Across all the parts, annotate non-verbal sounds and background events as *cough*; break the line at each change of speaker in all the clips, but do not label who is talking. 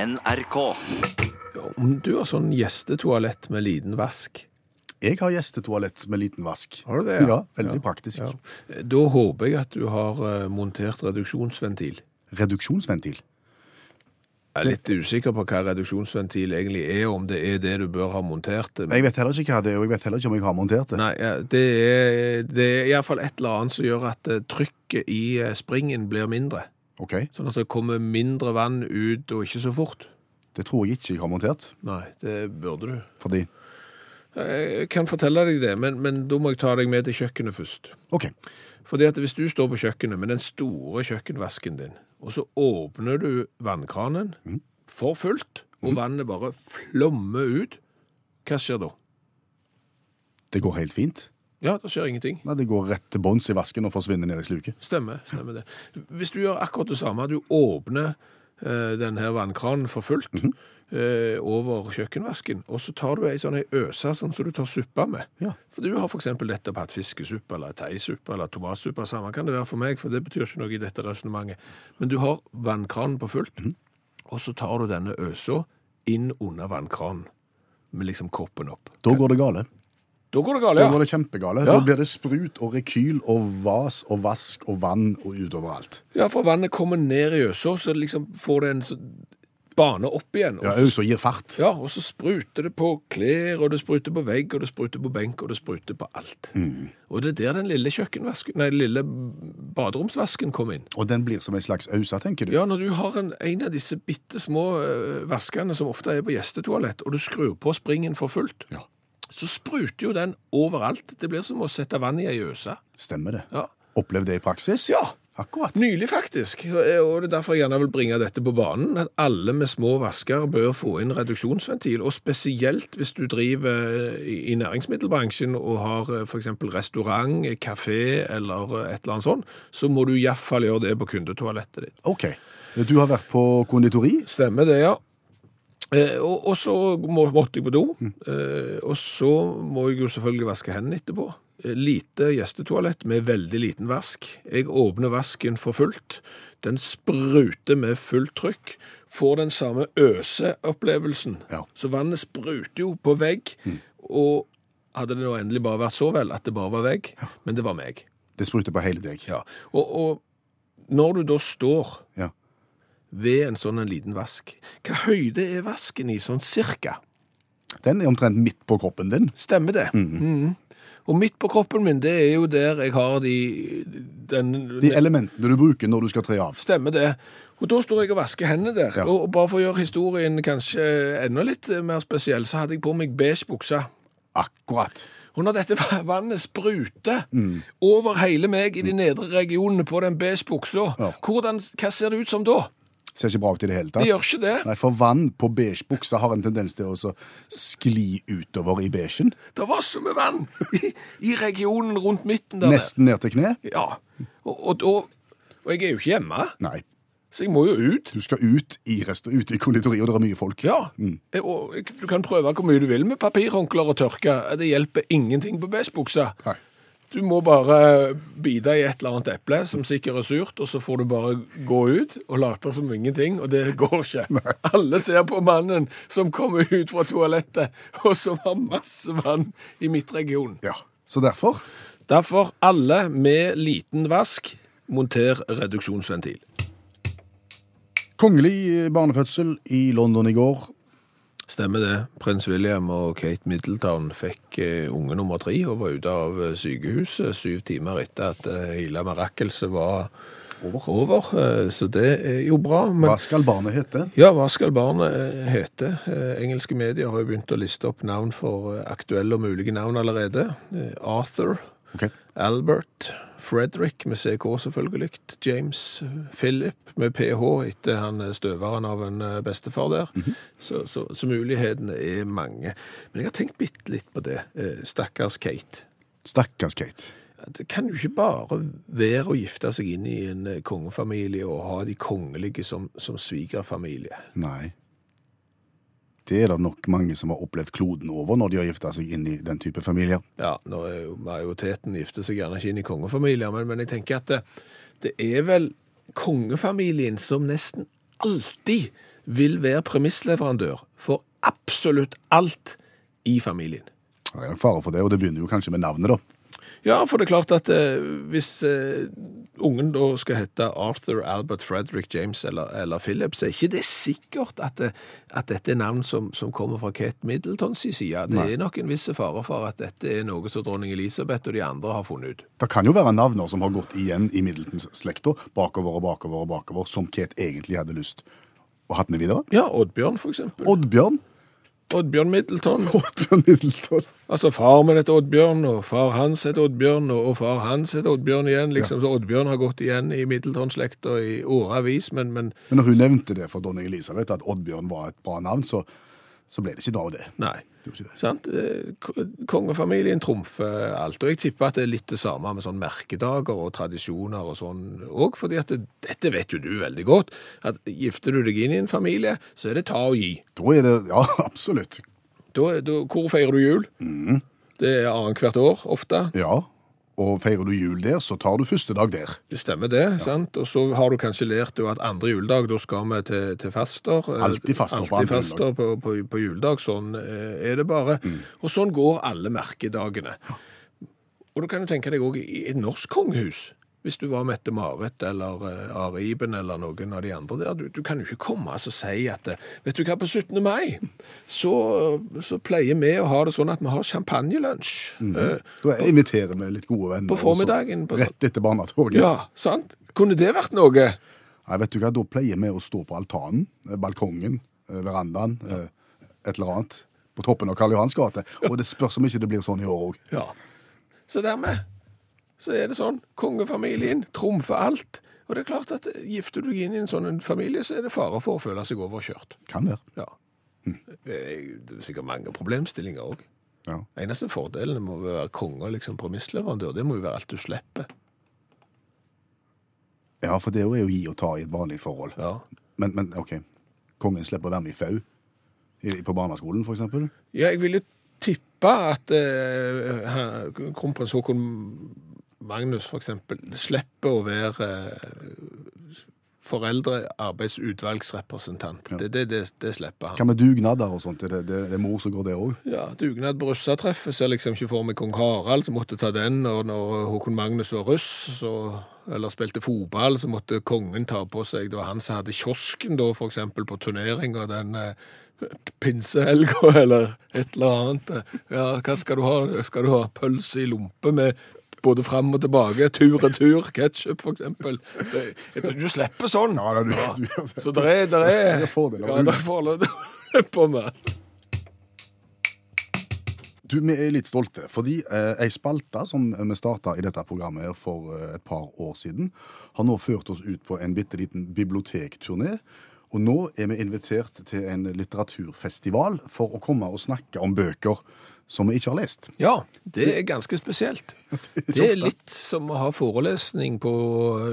NRK.
Om du har sånn gjestetoalett med liten vask
Jeg har gjestetoalett med liten vask.
Har du det?
Ja, veldig praktisk.
Ja. Da håper jeg at du har eh, montert reduksjonsventil.
Reduksjonsventil.
Jeg er litt usikker på hva reduksjonsventil egentlig er, om det er det du bør ha montert. eh,
Jeg vet heller ikke hva det er, og jeg vet heller ikke om jeg har montert det.
Nei, ja, det er, det er iallfall et eller annet som gjør at eh, trykket i eh, springen blir mindre.
Ok,
Sånn at det kommer mindre vann ut, og ikke så fort.
Det tror jeg ikke jeg har montert,
Nei, det burde du.
fordi
Jeg kan fortelle deg det, men, men da må jeg ta deg med til kjøkkenet først.
OK.
Fordi at hvis du står på kjøkkenet med den store kjøkkenvasken din, og så åpner du vannkranen for fullt, og vannet bare flommer ut, hva skjer da?
Det går helt fint.
Ja, det skjer ingenting.
Nei, Det går rett til bånns i vasken og forsvinner ned i sluket.
Stemmer, stemmer det. Hvis du gjør akkurat det samme, du åpner eh, denne vannkranen for fullt eh, over kjøkkenvasken, og så tar du ei sånn ei øse sånn som du tar suppa med.
Ja.
For du har for eksempel nettopp hatt fiskesuppe, eller teisuppe, eller tomatsuppe, samme kan det være for meg, for det betyr ikke noe i dette resonemanget. Men du har vannkranen på fullt,
Mhm.
og så tar du denne øsa inn under vannkranen, med liksom koppen opp.
Da går det gale.
Da går det galt,
Da
ja.
går det kjempegale.
Ja.
Da blir det sprut og rekyl og vas og vask og vann og utover alt.
Ja, for vannet kommer ned i øsa, så det liksom får det en sånn bane opp igjen. og
Ja,
så-
Au som gir fart.
Ja, og så spruter det på klær, og det spruter på vegg, og det spruter på benk, og det spruter på alt.
Mhm.
Og det er der den lille kjøkkenvasken, nei, den lille baderomsvasken kom inn.
Og den blir som en slags ausa, tenker du.
Ja, når du har en, en av disse bittesmå eh, vaskene som ofte er på gjestetoalett, og du skrur på springen for fullt,
Ja.
så spruter jo den overalt. Det blir som å sette vann i ei øse.
Stemmer det.
Ja.
Opplevd det i praksis?
ja.
Akkurat.
Nylig faktisk, og og det er derfor jeg gjerne vil bringe dette på banen, at alle med små vasker bør få inn reduksjonsventil, og spesielt hvis du driver eh, i i næringsmiddelbransjen og har eh, for eksempel restaurant, kafé eller eh, et eller annet sånt, så må du i hvert fall gjøre det på kundetoalettet ditt.
OK. Du har vært på konditori?
Stemmer det, ja. Eh, og, og så må, måtte jeg på do, eh, og så må jeg jo selvfølgelig vaske hendene etterpå. Eh, Lite gjestetoalett med veldig liten vask. Jeg åpner vasken for fullt. Den spruter med fullt trykk. Får den samme øseopplevelsen.
Ja.
Så vannet spruter jo på vegg. Og hadde det nå endelig bare vært så vel at det bare var vegg, men det var meg.
Det spruter på hele deg.
Ja. Og, og når du da står
Ja.
ved en sånn en liten vask. Hva høyde er vasken i, sånn cirka?
Den er omtrent midt på kroppen din.
Stemmer det? Mhm. Og midt på kroppen min, det er jo der jeg har de den,
De elementene du bruker når du skal tre av.
Stemmer det. Og da står jeg og vasker hendene der.
Ja.
Og, og bare for å gjøre historien kanskje enda litt eh, mer spesiell, så hadde jeg på meg beige bukse.
Akkurat.
Og når dette vannet spruter
Mm.
over hele meg i de nedre regionene på den beige buksa,
Ja.
hvordan- hva ser det ut som da?
Ser ikke bra ut i det hele tatt.
Det gjør ikke det.
Nei, for vann på beige bukser har en tendens til å så skli utover i beigen.
Det var så mye vann *laughs* i, i regionen rundt midten der. nede.
Nesten ned til kne.
Ja, og, og, og, og jeg er jo ikke hjemme,
Nei,
så jeg må jo ut.
du skal ut i rest og ut i konditori, og det er mye folk.
Ja, Eh, og jeg- du kan prøve hvor mye du vil med papirhåndklær og tørke. Eh, Det hjelper ingenting på beisbuksa.
Nei.
Du må bare bite i et eller annet eple som sikkert er surt, og så får du bare gå ut og late som ingenting, og det går *laughs* ikke. Alle ser på mannen som kommer ut fra toalettet, og som har masse vann i midtregionen.
Ja. Så derfor,
Derfor, alle med liten vask, monter reduksjonsventil.
kongelig barnefødsel i London i går.
Stemmer det. Prins William og Kate Middleton fikk eh, unge nummer tre og var ute av eh, sykehuset syv timer etter at eh, hele mirakelset var over. Eh, Så det er jo bra. Men
Hva skal barnet hete?
ja, hva skal barnet eh, hete? Eh, Engelske medier har jo begynt å liste opp navn for eh, aktuelle og mulige navn allerede. Eh, Arthur,
Ok.
Albert, Frederick med CK selvfølgelig, James, eh, Philip med PH etter han eh, støveren av en eh, bestefar der. så, så, så mulighetene er mange. Men jeg har tenkt bitte litt på det. eh, Stakkars Kate.
Stakkars Kate.
Det kan jo ikke bare være å gifte seg inn i en eh, kongefamilie og ha de kongelige som, som svigerfamilie.
Nei. Det er det nok mange som har opplevd kloden over når de har gifta seg inn i den type familier.
Ja, nå er jo majoriteten gifter seg gjerne ikke inn i kongefamilier, men, men jeg tenker at det, det er vel kongefamilien som nesten alltid vil være premissleverandør for absolutt alt i familien.
Det er nok fare for det, og det begynner jo kanskje med navnet, da.
Ja, for det er klart at eh, hvis eh, ungen da skal hete Arthur, Albert, Frederick, James eller, eller Philip, så er ikke det sikkert at, det- at dette er navn som, som kommer fra Kate Middletons side. Det er nok en viss fare for at dette er noe som dronning Elisabeth og de andre har funnet ut.
Det kan jo være navner som har gått igjen i Middletons-slekta, bakover og bakover og bakover, som Kate egentlig hadde lyst å hatt med videre.
Ja, Oddbjørn for eksempel.
Oddbjørn. *laughs*
Oddbjørn Middleton.
Oddbjørn Middleton.
Altså, far min heter Oddbjørn, og far hans heter Oddbjørn, og og far hans heter Oddbjørn igjen. liksom. Så Oddbjørn har gått igjen i Middelton-slekta i årevis, men, men
Men når hun nevnte det for dronning Elisabeth, at Oddbjørn var et bra navn, så, så ble det ikke noe av det.
nei.
Det var ikke det.
Sant? Eh, k- Kongefamilien trumfer alt. Og jeg tipper at det er litt det samme med sånn merkedager og tradisjoner og sånn òg, fordi at det, dette vet jo du veldig godt, at gifter du deg inn i en familie, så er det ta og gi.
Da er det Ja, *laughs* absolutt.
Da, da, hvor feirer du jul? Det er annethvert år, ofte.
Ja. Og feirer du jul der, så tar du første dag der.
Det stemmer det, sant? Og så har du kanskje lært jo at andre juledag, da skal vi til, til faster. Eh,
Alltid faster på
alltid
andre
faster på, på, på juledag, sånn eh, er det bare.
Mm.
Og sånn går alle merkedagene. Og du kan jo tenke deg også i et norsk kongehus, hvis du var Mette Marit eller eh, Are Iben eller noen av de andre der, du, du kan jo ikke komme altså, og si at eh, vet du hva, på 17. mai så, så pleier vi å ha det sånn at vi har champagnelunsj.
Mm.
Eh,
Da inviterer vi litt gode venner.
På
og så-
formiddagen, på-
Rett etter barnetoget.
ja, sant? Kunne det vært noe?
Nei, vet du hva, da pleier vi å stå på altanen, eh, balkongen, eh, verandaen, eh, et eller annet, på toppen av Karl Johans gate. Og det spørs om ikke det blir sånn i år òg.
Ja. Så dermed så er det sånn. Kongefamilien trumfer alt. Og det er klart at gifter du deg inn i en sånn en familie, så er det fare for å føle seg overkjørt.
Kan være.
Ja. Det er det er sikkert mange problemstillinger òg.
Ja.
Eneste fordelen med å være konge og liksom premissleverandør, det må jo være alt du slipper.
ja, for det er jo å gi og ta i et vanlig forhold.
Ja.
Men, men OK, kongen slipper å være med i FAU i- på barneskolen, for eksempel.
Ja, jeg ville tippe at eh, her- kronprins Haakon Magnus for eksempel slipper å være eh, foreldrearbeidsutvalgsrepresentant. Det, det, det, det slipper han.
Hva med dugnader og sånt? Er det, det, det er mor som går det òg?
Ja, Dugnad på russertreffet ser liksom ikke for meg kong Harald, som måtte ta den. Og når eh, Håkon Magnus var russ, så, eller spilte fotball, så måtte kongen ta på seg Det var han som hadde kiosken, da, for eksempel, på turneringer den eh, *laughs* pinsehelga, eller et eller annet. Ja, hva skal du ha? Skal du ha pølse i lompe med både fram og tilbake, tur-retur, ketsjup, for eksempel? Det, jeg tror du slipper sånn.
Ja, da, du- du gjør det.
Så der er, der er,
Det er fordeler.
Ja, der er fordeler *laughs* på meg.
Du, Vi er litt stolte, fordi eh, ei spalte som vi starta i dette programmet her for eh, et par år siden, har nå ført oss ut på en bitte liten bibliotekturné. Og nå er vi invitert til en litteraturfestival for å komme og snakke om bøker som vi ikke har lest.
Ja, det er ganske spesielt. *laughs* Det er litt som å ha forelesning på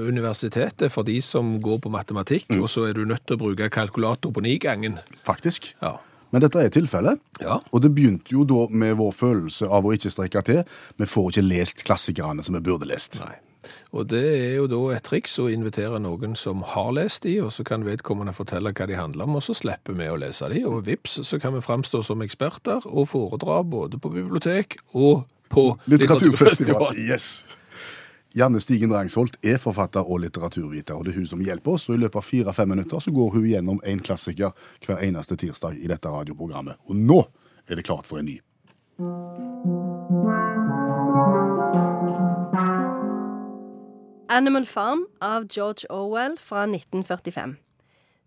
universitetet for de som går på matematikk, og så er du nødt til å bruke kalkulator på nigangen.
Faktisk.
Ja.
Men dette er tilfellet.
Ja.
Og det begynte jo da med vår følelse av å ikke strekke til. Vi får ikke lest klassikerne som vi burde lest.
Nei. Og det er jo da et triks å invitere noen som har lest de, og så kan vedkommende fortelle hva de handler om, og så slipper vi å lese de, og vips, så kan vi framstå som eksperter og foredra både på bibliotek og på
Litteraturfestival.
litteraturfestival.
Yes. Janne Stigen Drangsholt er forfatter og litteraturviter, og det er hun som hjelper oss. og I løpet av fire-fem minutter så går hun gjennom en klassiker hver eneste tirsdag i dette radioprogrammet. Og nå er det klart for en ny.
Animal Farm av George Orwell fra 1945.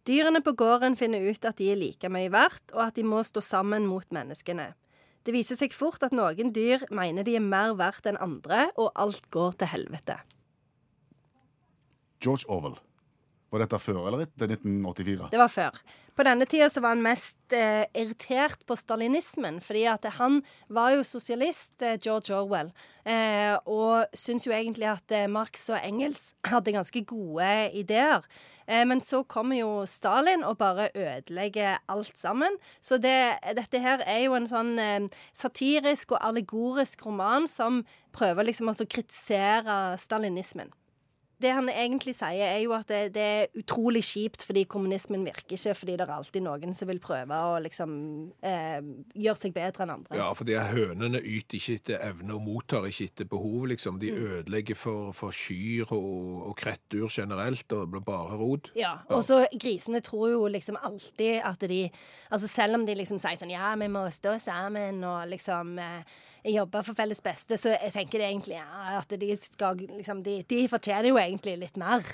Dyrene på gården finner ut at de er like mye verdt, og at de må stå sammen mot menneskene. Det viser seg fort at noen dyr mener de er mer verdt enn andre, og alt går til helvete.
George Orwell. Var dette før eller etter 1984?
Det var før. På denne tida så var han mest eh, irritert på stalinismen, fordi at han var jo sosialist, eh, George Orwell, eh, og syns jo egentlig at eh, Marx og Engels hadde ganske gode ideer. Eh, men så kommer jo Stalin og bare ødelegger alt sammen. Så det, dette her er jo en sånn eh, satirisk og allegorisk roman som prøver liksom også å kritisere stalinismen. det han egentlig sier, er jo at det, det er utrolig kjipt fordi kommunismen virker ikke, fordi det er alltid noen som vil prøve å liksom eh, gjøre seg bedre enn andre.
Ja, for de her hønene yter ikke etter evne og mottar ikke etter behov, liksom. De ødelegger for, for kyr og, og krettur generelt, og det blir bare rod.
Ja, og så grisene tror jo liksom alltid at de Altså selv om de liksom sier sånn Ja, vi må stå sammen og liksom eh, jobbe for felles beste, så jeg tenker det egentlig ja, at de skal liksom De, de fortjener jo egentlig litt mer.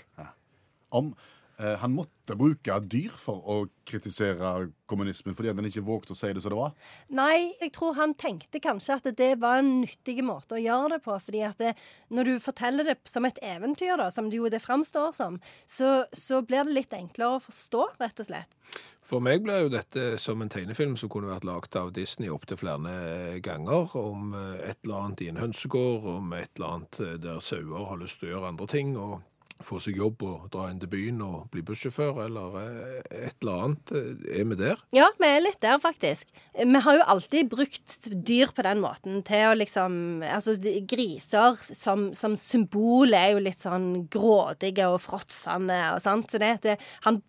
Om eh, han måtte bruke dyr for å kritisere kommunismen fordi at han ikke vågte å si det som det var.
Nei, jeg tror han tenkte kanskje at det var en nyttig måte å gjøre det på. fordi at det, når du forteller det som et eventyr, da, som det jo det framstår som, så, så blir det litt enklere å forstå, rett og slett.
For meg ble jo dette som en tegnefilm som kunne vært laget av Disney opptil flere ganger, om eh, et eller annet i en hønsegård, om et eller annet eh, der sauer har lyst til å gjøre andre ting, og få seg jobb og dra inn til byen og bli bussjåfør, eller eh, et eller annet. Eh, Er vi der?
Ja, vi er litt der, faktisk. Vi har jo alltid brukt dyr på den måten til å liksom Altså, de- griser som, som symbol er jo litt sånn grådige og fråtsende og sånt. Så det, det Han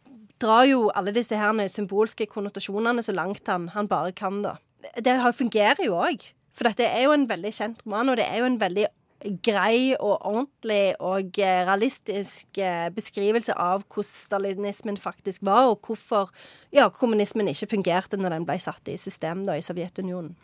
drar jo alle disse her symbolske konnotasjonene så langt han, han bare kan, da. Det har- fungerer jo òg. For dette er jo en veldig kjent roman, og det er jo en veldig grei og ordentlig og eh, realistisk eh, beskrivelse av hvordan stalinismen faktisk var, og hvorfor ja, kommunismen ikke fungerte når den ble satt i system da, i Sovjetunionen.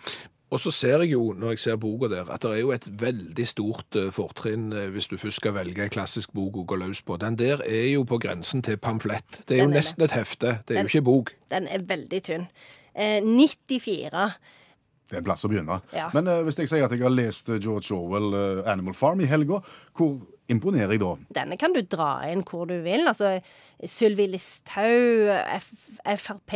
Og så ser jeg jo, når jeg ser boka der, at det er jo et veldig stort eh, fortrinn eh, hvis du først skal velge en klassisk bok å gå løs på. Den der er jo på grensen til pamflett. Det er
Den
jo
er det.
nesten et hefte, det er jo ikke en bok.
Den er veldig tynn. Eh, 94.
Det er en plass å begynne.
Ja.
Men eh, hvis jeg sier at jeg har lest eh, George Orwell eh, 'Animal Farm' i helga, hvor imponerer jeg da?
Denne kan du dra inn hvor du vil. Altså Sylvi Listhaug, F Frp,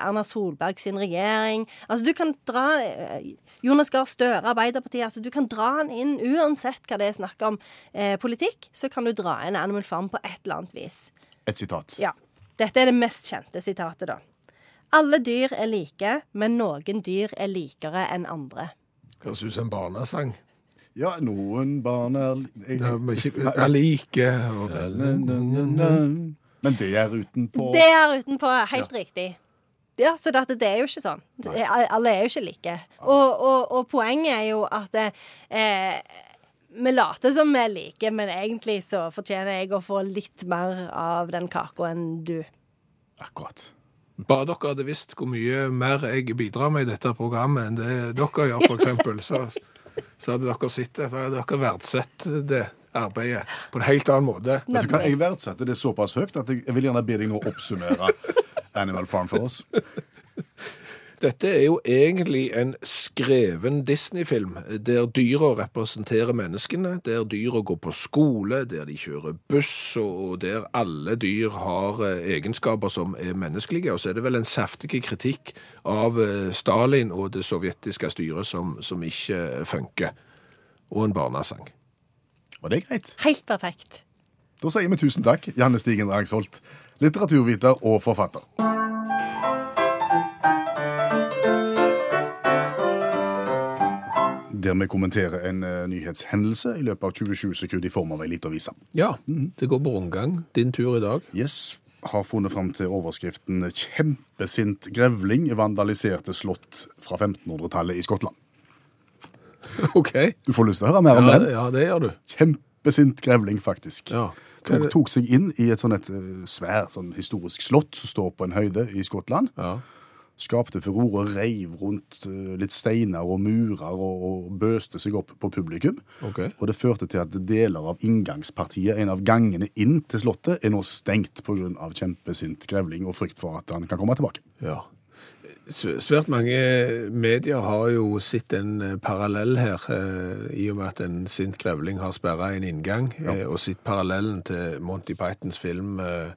Erna Solberg sin regjering. Altså du kan dra eh, Jonas Gahr Støre, Arbeiderpartiet. Altså du kan dra den inn uansett hva det er snakk om eh, politikk. Så kan du dra inn Animal Farm på et eller annet vis.
Et sitat.
Ja. Dette er det mest kjente sitatet, da. Alle dyr er like, men noen dyr er likere enn andre.
Høres ut som en barnesang.
Ja, noen barn er li-
Ja, men *laughs* ikke, jeg liker og
Men det er utenpå
Det er utenpå. Helt riktig. Ja, så dette, det er jo ikke sånn. Det er- Alle er jo ikke like. Og, og, og poenget er jo at eh, vi later som vi er like, men egentlig så fortjener jeg å få litt mer av den kaka enn du.
Akkurat.
Bare dere hadde visst hvor mye mer jeg bidrar med i dette programmet enn det dere gjør, for eksempel, så, så hadde dere sett det. Da hadde dere verdsett det arbeidet på en helt annen måte.
Vet du hva, Jeg verdsetter det såpass høyt at jeg jeg vil gjerne be deg nå
*laughs*
oppsummere Animal Farm for oss.
Dette er jo egentlig en skreven Disney-film, der dyra representerer menneskene, der dyra går på skole, der de kjører buss, og der alle dyr har eh, egenskaper som er menneskelige. Og så er det vel en saftig kritikk av eh, Stalin og det sovjetiske styret som, som ikke eh, funker. Og en barnesang.
Og det er greit.
Helt perfekt.
Da sier vi tusen takk, Janne Stigen Rangsholt, litteraturviter og forfatter. Der vi kommenterer en eh, nyhetshendelse i løpet av 27 sekunder i form av ei lita vise.
Ja, mm. det går på rundgang. Din tur i dag.
Yes har funnet fram til overskriften 'Kjempesint grevling vandaliserte slott fra 1500-tallet i Skottland'.
*laughs* OK.
Du får lyst til å høre mer om
Ja,
den.
ja, det gjør du.
Kjempesint grevling, faktisk.
Ja. Hva er
Tok,
det-
tok seg inn i et sånn et eh, svært sånn historisk slott som står på en høyde i Skottland.
Ja.
Skapte furore, reiv rundt eh, litt steiner og murer og, og bøste seg opp på publikum.
Ok.
Og det førte til at deler av inngangspartiet, en av gangene inn til slottet, er nå stengt pga. kjempesint grevling og frykt for at han kan komme tilbake.
Ja. Sv- Svært mange medier har jo sett en eh, parallell her, eh, i og med at en sint grevling har sperra en inngang, eh, og sett parallellen til Monty Pythons film eh,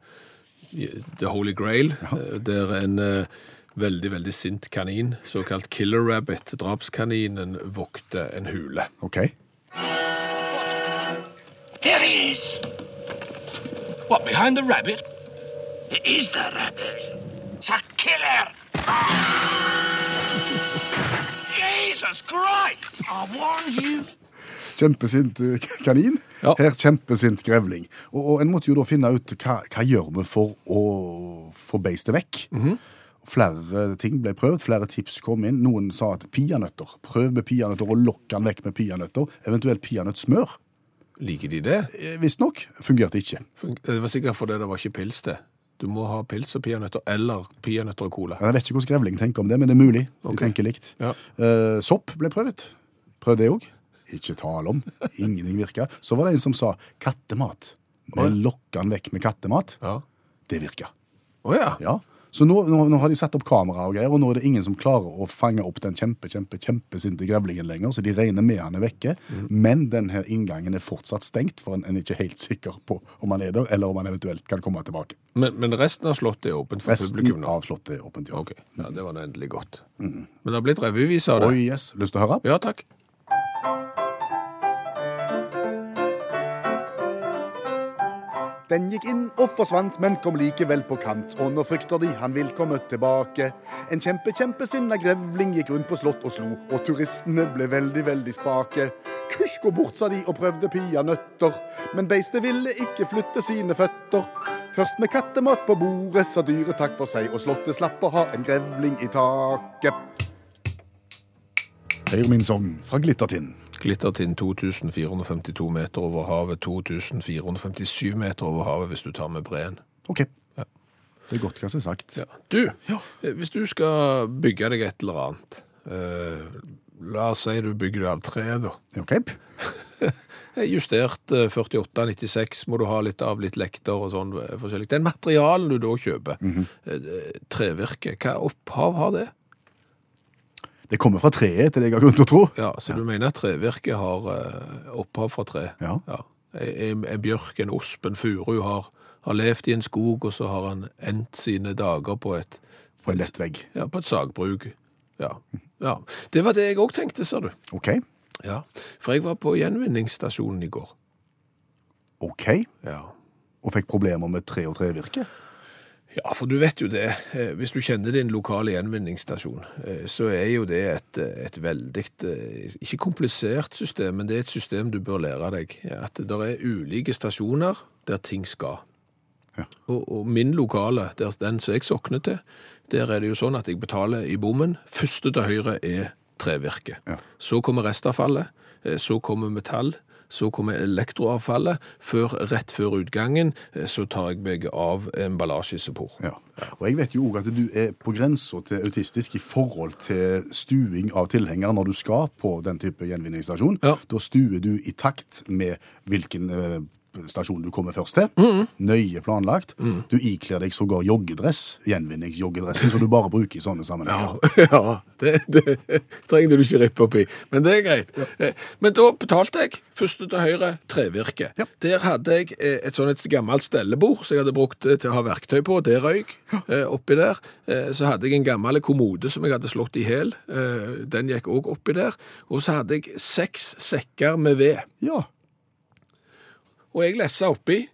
The Holy Grail, eh, der en eh, veldig, veldig sint kanin, såkalt killer rabbit, drapskaninen, vokter en hule.
Ok?
There he is. What, behind the rabbit? It is the rabbit. It's a *laughs* killer. Jesus Christ! I warned you.
kjempesint eh, kanin,
Ja.
her kjempesint grevling. Og, og en måtte jo da finne ut hva, hva gjør vi for å få beistet vekk.
Mhm.
Flere ting ble prøvd, flere tips kom inn. Noen sa at peanøtter. Prøv med peanøtter og lokk han vekk med peanøtter. Eventuelt peanøttsmør.
Liker de det?
Eh, Visstnok fungerte ikke.
Fun- eh, Det var sikkert fordi det var ikke pils til. Du må ha pils og peanøtter, eller peanøtter og cola.
Jeg vet ikke hvordan grevling tenker om det, men det er mulig. De
Ok.
tenker likt.
Ja.
Eh, sopp ble prøvd. Prøv det òg. Ikke tale om. Ingenting virka. Så var det en som sa kattemat. Vi lokka han vekk med kattemat.
Ja.
Det virka.
Å ja.
Ja. Så nå, nå, nå har de satt opp kamera og greier, og nå er det ingen som klarer å fange opp den kjempe, kjempe, kjempesinte grevlingen lenger, så de regner med han er vekke.
Mhm.
Men denne inngangen er fortsatt stengt, for en en er ikke helt sikker på om han er der, eller om han eventuelt kan komme tilbake.
Men, men resten av Slottet er åpent for publikum
Resten
nå?
av slottet er åpent, ja.
Ok, ja, Det var nå endelig godt. Men det har blitt revyvise av det?
Oi, yes. Lyst til å høre?
Ja takk.
Den gikk inn og forsvant, men kom likevel på kant. Og nå frykter de han vil komme tilbake. En kjempe, kjempesinna grevling gikk rundt på slott og slo, og turistene ble veldig, veldig spake. Kusj, gå bort, sa de og prøvde peanøtter, men beistet ville ikke flytte sine føtter. Først med kattemat på bordet sa dyret takk for seg, og slottet slapp å ha en grevling i taket. Det er jo min sang fra Glittertind.
Glittertind 2452 meter over havet, 2457 meter over havet hvis du tar med breen.
OK. Det er godt hva som er sagt.
Du, eh, hvis du skal bygge deg et eller annet eh, La oss si du bygger det av tre, da.
OK.
Eh, Justert eh, 48,96 må du ha litt av, litt lekter og sånn eh, forskjellig. Den materialen du da kjøper,
Mhm.
eh, trevirke, hva opphav har det?
Det kommer fra treet, til det jeg har grunn til å tro.
Ja, Så du mener at trevirke har eh, opphav fra tre?
Ja.
En, en bjørk, en osp, en furu har, har levd i en skog, og så har han endt sine dager på et,
På en lett vegg.
ja, på et sagbruk. Ja. ja. Det var det jeg òg tenkte, sa du.
OK.
Ja. For jeg var på gjenvinningsstasjonen i går.
OK.
Ja.
Og fikk problemer med tre og trevirke.
Ja, for du vet jo det. eh, Hvis du kjenner din lokale gjenvinningsstasjon, eh, så er jo det et, eh, et veldig eh, Ikke komplisert system, men det er et system du bør lære deg. Ja, At det er ulike stasjoner der ting skal.
Ja.
Og, og min lokale, der, den som jeg sokner til, der er det jo sånn at jeg betaler i bommen. Første til høyre er trevirke.
Ja.
Så kommer restavfallet, eh, så kommer metall, så kommer elektroavfallet. Før, rett før utgangen eh, så tar jeg meg av emballasjesupport.
Ja. Og jeg vet jo òg at du er på grensa til autistisk i forhold til stuing av tilhenger når du skal på den type gjenvinningsstasjon.
Ja.
Da stuer du i takt med hvilken eh, stasjon du kommer først til.
Mm.
Nøye planlagt. Du ikler deg sågar joggedress, gjenvinningsjoggedressen, som du bare bruker i sånne sammenhenger.
ja *laughs* det, det trenger du ikke rippe opp i, men det er greit. Eh, Men da betalte jeg første til høyre trevirke.
Ja.
Der hadde jeg eh, et sånn et gammelt stellebord som jeg hadde brukt eh, til å ha verktøy på. Det røyk eh, oppi der. Eh, Så hadde jeg en gammel kommode som jeg hadde slått i hæl. Eh, Den gikk òg oppi der. Og så hadde jeg seks sekker med ved.
Ja.
Og jeg lessa oppi,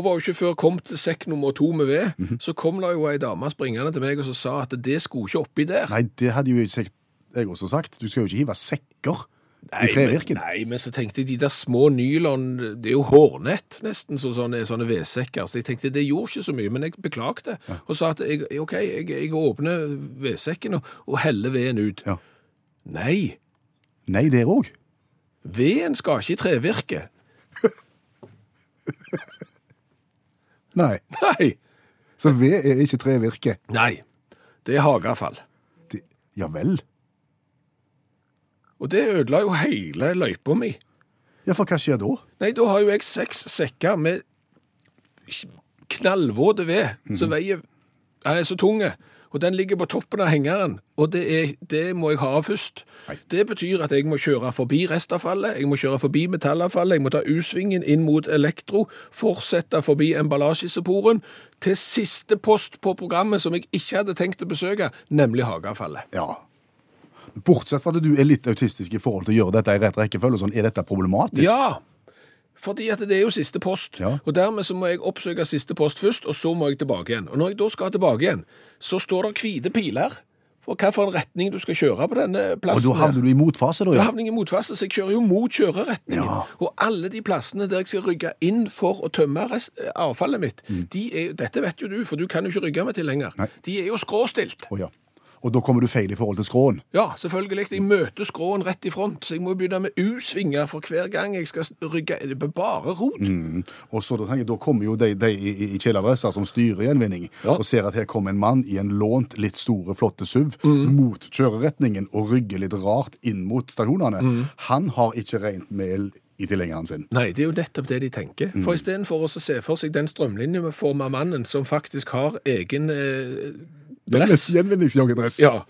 og var jo ikke før kom til sekk nummer to med ved, så kom det jo ei dame springende til meg og så sa at det skulle ikke oppi der.
Nei, det hadde jo jeg, jeg også sagt. Du skal jo ikke hive sekker i
men,
trevirken.
nei, men så tenkte jeg de der små nylon, det er jo hårnett nesten, så sånne, sånne vedsekker. Så jeg tenkte det gjorde ikke så mye, men jeg beklagte. Og sa at jeg, ok, jeg, jeg åpner vedsekken og, og heller veden ut.
Ja.
Nei,
Nei, der òg.
veden skal ikke i trevirket.
Nei.
Nei,
Så ved er ikke trevirke.
nei, det er hageavfall.
Det, ja vel?
Og det ødela jo hele løypa mi.
Ja, for hva skjer da?
Nei, da har jo jeg seks sekker med knallvåte ved, som veier Han er så tung, eh, og den ligger på toppen av hengeren, og det, er, det må jeg ha av først. Det betyr at jeg må kjøre forbi restavfallet, jeg må kjøre forbi metallavfallet, jeg må ta U-svingen inn mot elektro, fortsette forbi emballasjeseporen, til siste post på programmet som jeg ikke hadde tenkt å besøke, nemlig hageavfallet.
Ja. Bortsett fra at du er litt autistisk i forhold til å gjøre dette i rett rekkefølge, og sånn, er dette problematisk?
Ja, fordi at det er jo siste post,
Ja.
og dermed så må jeg oppsøke siste post først, og så må jeg tilbake igjen. Og når jeg da skal tilbake igjen, så står det hvite piler på hvilken retning du skal kjøre på denne
Og
plassen.
da havner du i motfase, da.
Da
altså, Ja.
havner jeg i motfase, så jeg kjører jo mot kjøreretningen.
Ja.
Og alle de plassene der jeg skal rygge inn for å tømme rest, avfallet mitt, de er, dette vet jo du, for du kan jo ikke rygge meg til lenger.
Mm. Nei.
De er jo skråstilt.
Å, ja. Og da kommer du feil i forhold til skråen.
Ja, selvfølgelig. Jeg møter skråen rett i front, så jeg må jo begynne med U-svinger for hver gang jeg skal rygge. Det er bare rot.
Og så da, tenker jeg, da kommer jo de, de i, i- i kjeledresser som styrer gjenvinning,
Ja.
og ser at her kommer en mann i en lånt, litt store, flotte SUV mot kjøreretningen og rygger litt rart inn mot stasjonene. Han har ikke rent mel i tilhengeren sin.
Nei, det er jo nettopp det de tenker. For istedenfor å se for seg den strømlinjeforma mannen som faktisk har egen eh, dress
Gjenvinningsjoggedress.
Ja,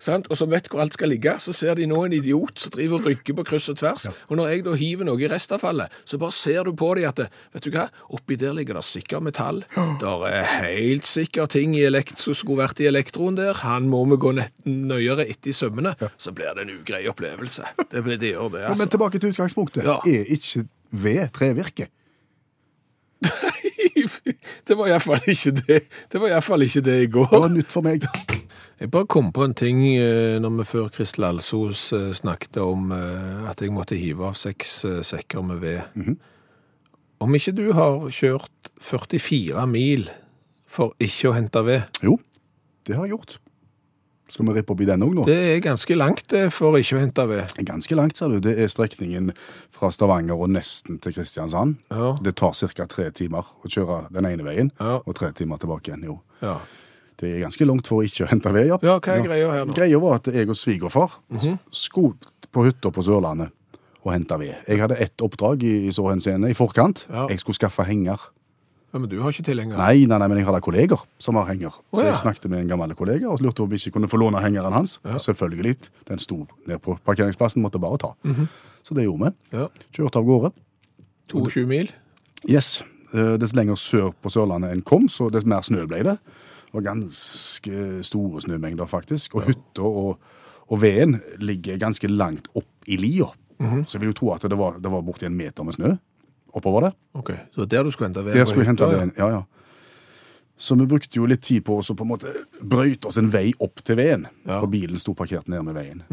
sant? Og som vet hvor alt skal ligge, så ser de nå en idiot som driver og rygger på kryss og tvers. Og når jeg da hiver noe i restavfallet, så bare ser du på dem at det, Vet du hva, oppi der ligger det sikkert metall. Der er helt sikkert ting i elekt som skulle vært i elektroen der. Han må vi gå nett- nøyere etter i sømmene. Så blir det en ugrei opplevelse. Det, blir- det gjør det,
Men
altså.
tilbake til utgangspunktet.
Ja.
Er ikke ved trevirke?
Det var iallfall ikke det. Det var iallfall ikke det i går.
Det var nytt for meg.
Jeg bare kom på en ting eh, når vi før Kristel Alsos eh, snakket om eh, at jeg måtte hive av seks eh, sekker med ved. Om ikke du har kjørt 44 mil for ikke å hente ved,
Jo, det har jeg gjort. Skal vi rippe opp i den òg nå?
det er ganske langt det for ikke å hente ved.
Ganske langt, sa du. Det er strekningen fra Stavanger og nesten til Kristiansand.
Ja.
Det tar ca. tre timer å kjøre den ene veien,
Ja.
og tre timer tilbake igjen. Jo.
Ja,
Det er ganske langt for å ikke å hente ved. Ja,
ja hva er greia her nå? Mhm.
Greia var at jeg og svigerfar skulle på hytta på Sørlandet og hente ved. Jeg hadde ett oppdrag i, i så henseende i forkant.
Ja.
Jeg skulle skaffe henger.
Ja, men du har ikke tilhenger.
Nei, nei, nei, men jeg hadde kolleger som har henger. Så
Å, ja.
jeg snakket med en gammel kollega og lurte på om vi ikke kunne få låne hengeren hans. Selvfølgelig. Den sto ned på parkeringsplassen, måtte bare ta.
Mhm.
Så det gjorde vi.
Ja,
Kjørte av gårde.
22 mil.
Yes. eh, Dess lenger sør på Sørlandet en kom, så dess mer snø ble det. Det var ganske store snømengder, faktisk. Og hytta og, og veden ligger ganske langt opp i lia.
Mhm.
Så jeg vil jo tro at det var, det var borti en meter med snø oppover der.
Ok, så der du skulle hente ved.
Der
på
skulle jeg hente
hytta, ja.
veden, ja, ja. Så vi brukte jo litt tid på å så på en måte brøyte oss en vei opp til veden.
Ja. Mhm.
For bilen sto parkert nede med veien.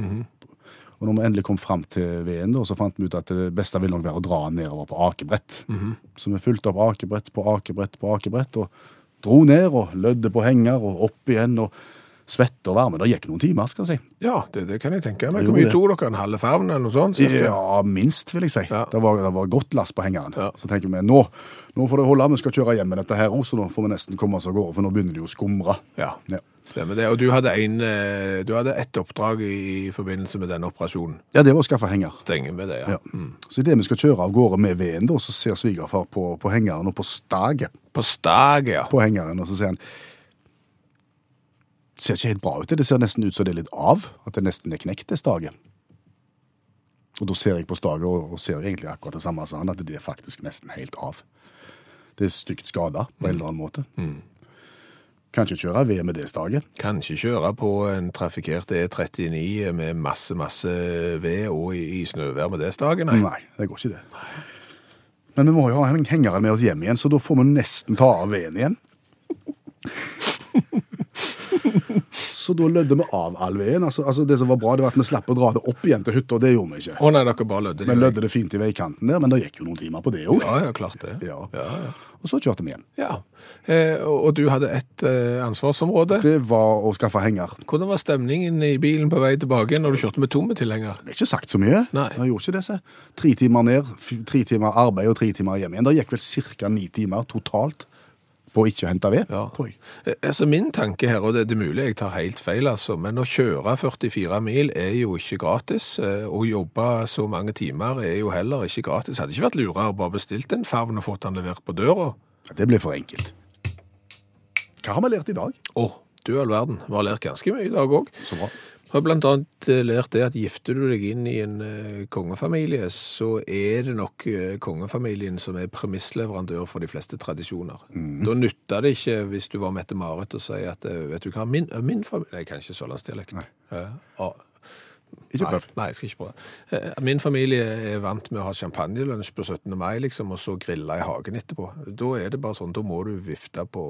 Og når vi endelig kom fram til veden, da, så fant vi ut at det beste ville nok være å dra den nedover på akebrett.
Mhm.
Så vi fulgte opp akebrett på akebrett på akebrett, og dro ned og lødde på henger og opp igjen. og Svette og varme. Det gikk noen timer, skal vi si.
Ja, det, det kan jeg tenke meg.
Jo,
Hvor mye
det.
tok dere? En halve favn eller noe sånt? cirka?
Ja, minst, vil jeg si.
Ja.
Det, var, det var godt last på hengeren.
Ja.
Så tenker vi nå, nå får det holde, vi skal kjøre hjem med dette her òg, så nå får vi nesten komme oss av gårde, for nå begynner det jo å skumre.
Ja,
Ja.
stemmer det. Og du hadde, en, eh, du hadde ett oppdrag i forbindelse med denne operasjonen.
Ja, det var å skaffe henger.
Stenger med det, ja.
Ja. Så idet vi skal kjøre av gårde med veden, da, så ser svigerfar på, på hengeren og på staget
På staget, ja.
på hengeren, og så sier han Ser ikke helt bra ut, det. det ser nesten ut som det er litt av. At det nesten er knekt, det staget. Og da ser jeg på staget og, og ser egentlig akkurat det samme som han, at det er faktisk nesten helt av. Det er stygt skada på en eller annen måte. Kan ikke kjøre ved med det staget.
Kan ikke kjøre på en trafikkert E39 med masse, masse ved og i, i snøvær med det staget, nei.
Nei, det går ikke det. Men vi må jo ha heng- hengeren med oss hjem igjen, så da får vi nesten ta av veden igjen. Så da lødde vi av all veden. Altså, altså det som var bra, det var at vi slapp å dra det opp igjen til hytta. Det gjorde vi ikke.
Å nei, dere bare lødde det.
Vi lødde det fint i veikanten der, men det gikk jo noen timer på det òg.
Ja, ja, klart det.
Ja.
ja. ja.
Og så kjørte vi hjem.
Ja. Eh, og, og du hadde ett eh, ansvarsområde.
Det var å skaffe henger.
Hvordan var stemningen i bilen på vei tilbake når du kjørte med tomme tilhenger?
Det er ikke sagt så mye.
Nei.
Jeg gjorde ikke det, se. Tre timer ned, f- tre timer arbeid og tre timer hjem igjen. Det gikk vel ca. ni timer totalt på å ikke hente ved,
Ja.
tror jeg.
Eh, Altså Min tanke her, og det det er mulig jeg tar helt feil, altså, men å kjøre 44 mil er jo ikke gratis. eh, Å jobbe så mange timer er jo heller ikke gratis. Hadde ikke vært lurere å bare bestilt en favn og fått den levert på døra.
Ja, Det ble for enkelt. Hva har vi lært i dag?
Å, du all verden. Vi har lært ganske mye i dag òg.
Så bra.
Jeg har blant annet eh, lært det at gifter du deg inn i en eh, kongefamilie, så er det nok eh, kongefamilien som er premissleverandør for de fleste tradisjoner. Da nytter det ikke hvis du var Mette-Marit og sier at eh, vet du hva, min, eh, min familie Nei, jeg kan ikke sørlandsdialekt. Eh, ah,
Ikke prøv.
Nei, nei, jeg skal ikke prøve. Eh, Min familie er vant med å ha champagnelunsj på 17. mai, liksom, og så grilla i hagen etterpå. Da er det bare sånn, da må du vifte på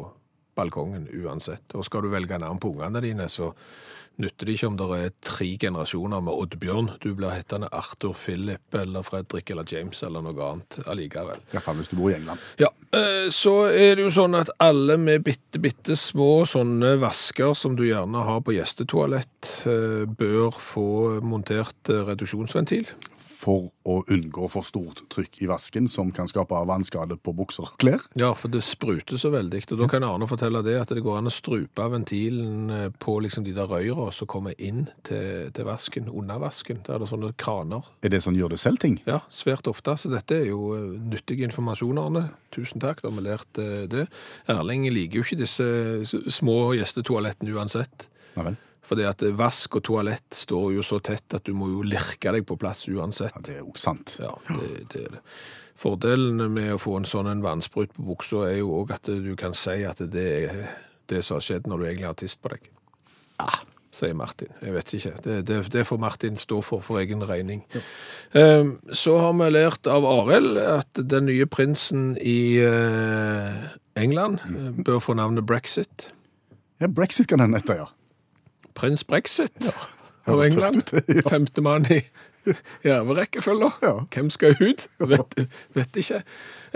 balkongen uansett. Og skal du velge navn på ungene dine, så nytter det ikke om det er tre generasjoner med Oddbjørn. Du blir hettende Arthur, Philip eller Fredrik eller James eller noe annet allikevel.
Iallfall hvis du bor i England.
Ja, eh, så er det jo sånn at alle med bitte, bitte små sånne vasker som du gjerne har på gjestetoalett, eh, bør få montert eh, reduksjonsventil.
For å unngå for stort trykk i vasken, som kan skape vannskade på bukser og klær.
Ja, for det spruter så veldig. Og da kan Arne fortelle det at det går an å strupe ventilen eh, på liksom de der røyra som kommer inn til, til vasken, under vasken. Der er det sånne kraner.
Er det sånn gjør det selv-ting?
Ja, svært ofte. Så dette er jo eh, nyttig informasjon, Arne. Tusen takk, da har vi lært eh, det. Erling liker jo ikke disse s- små gjestetoalettene uansett.
Nei vel.
Fordi at eh, vask og toalett står jo så tett at du må jo lirke deg på plass uansett.
Ja, det er jo sant.
Ja, det, det er det. Fordelen med å få en sånn en vannsprut på buksa er jo òg at du kan si at det er det som har skjedd når du egentlig har tist på deg. Sier Martin. Jeg vet ikke. Det, det, det får Martin stå for for egen regning. Ehm, så har vi lært av Arild at den nye prinsen i eh, England eh, bør få navnet Brexit.
Ja, Brexit kan hende etter, ja.
Prins Brexit av
høres
England.
tøft ut, ja.
Femte mann i i arverekkefølga.
Ja.
Hvem skal ut? Vet, vet ikke.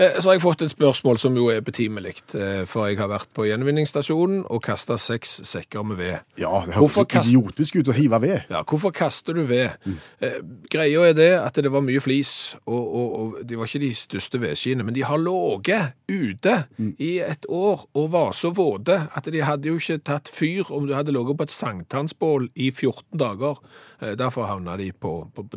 Eh, Så har jeg fått et spørsmål som jo er betimelig, eh, for jeg har vært på gjenvinningsstasjonen og kasta seks sekker med ved.
Ja, Det høres
Hvorfor
jo
kast-
idiotisk ut å hive ved.
Ja, hvorfor kaster du ved? Eh, greia er det at det var mye flis, og, og, og de var ikke de største vedskiene, men de har ligget ute i et år og var så våte at de hadde jo ikke tatt fyr om du hadde ligget på et sankthansbål i 14 dager. Eh, derfor havna de på, på, på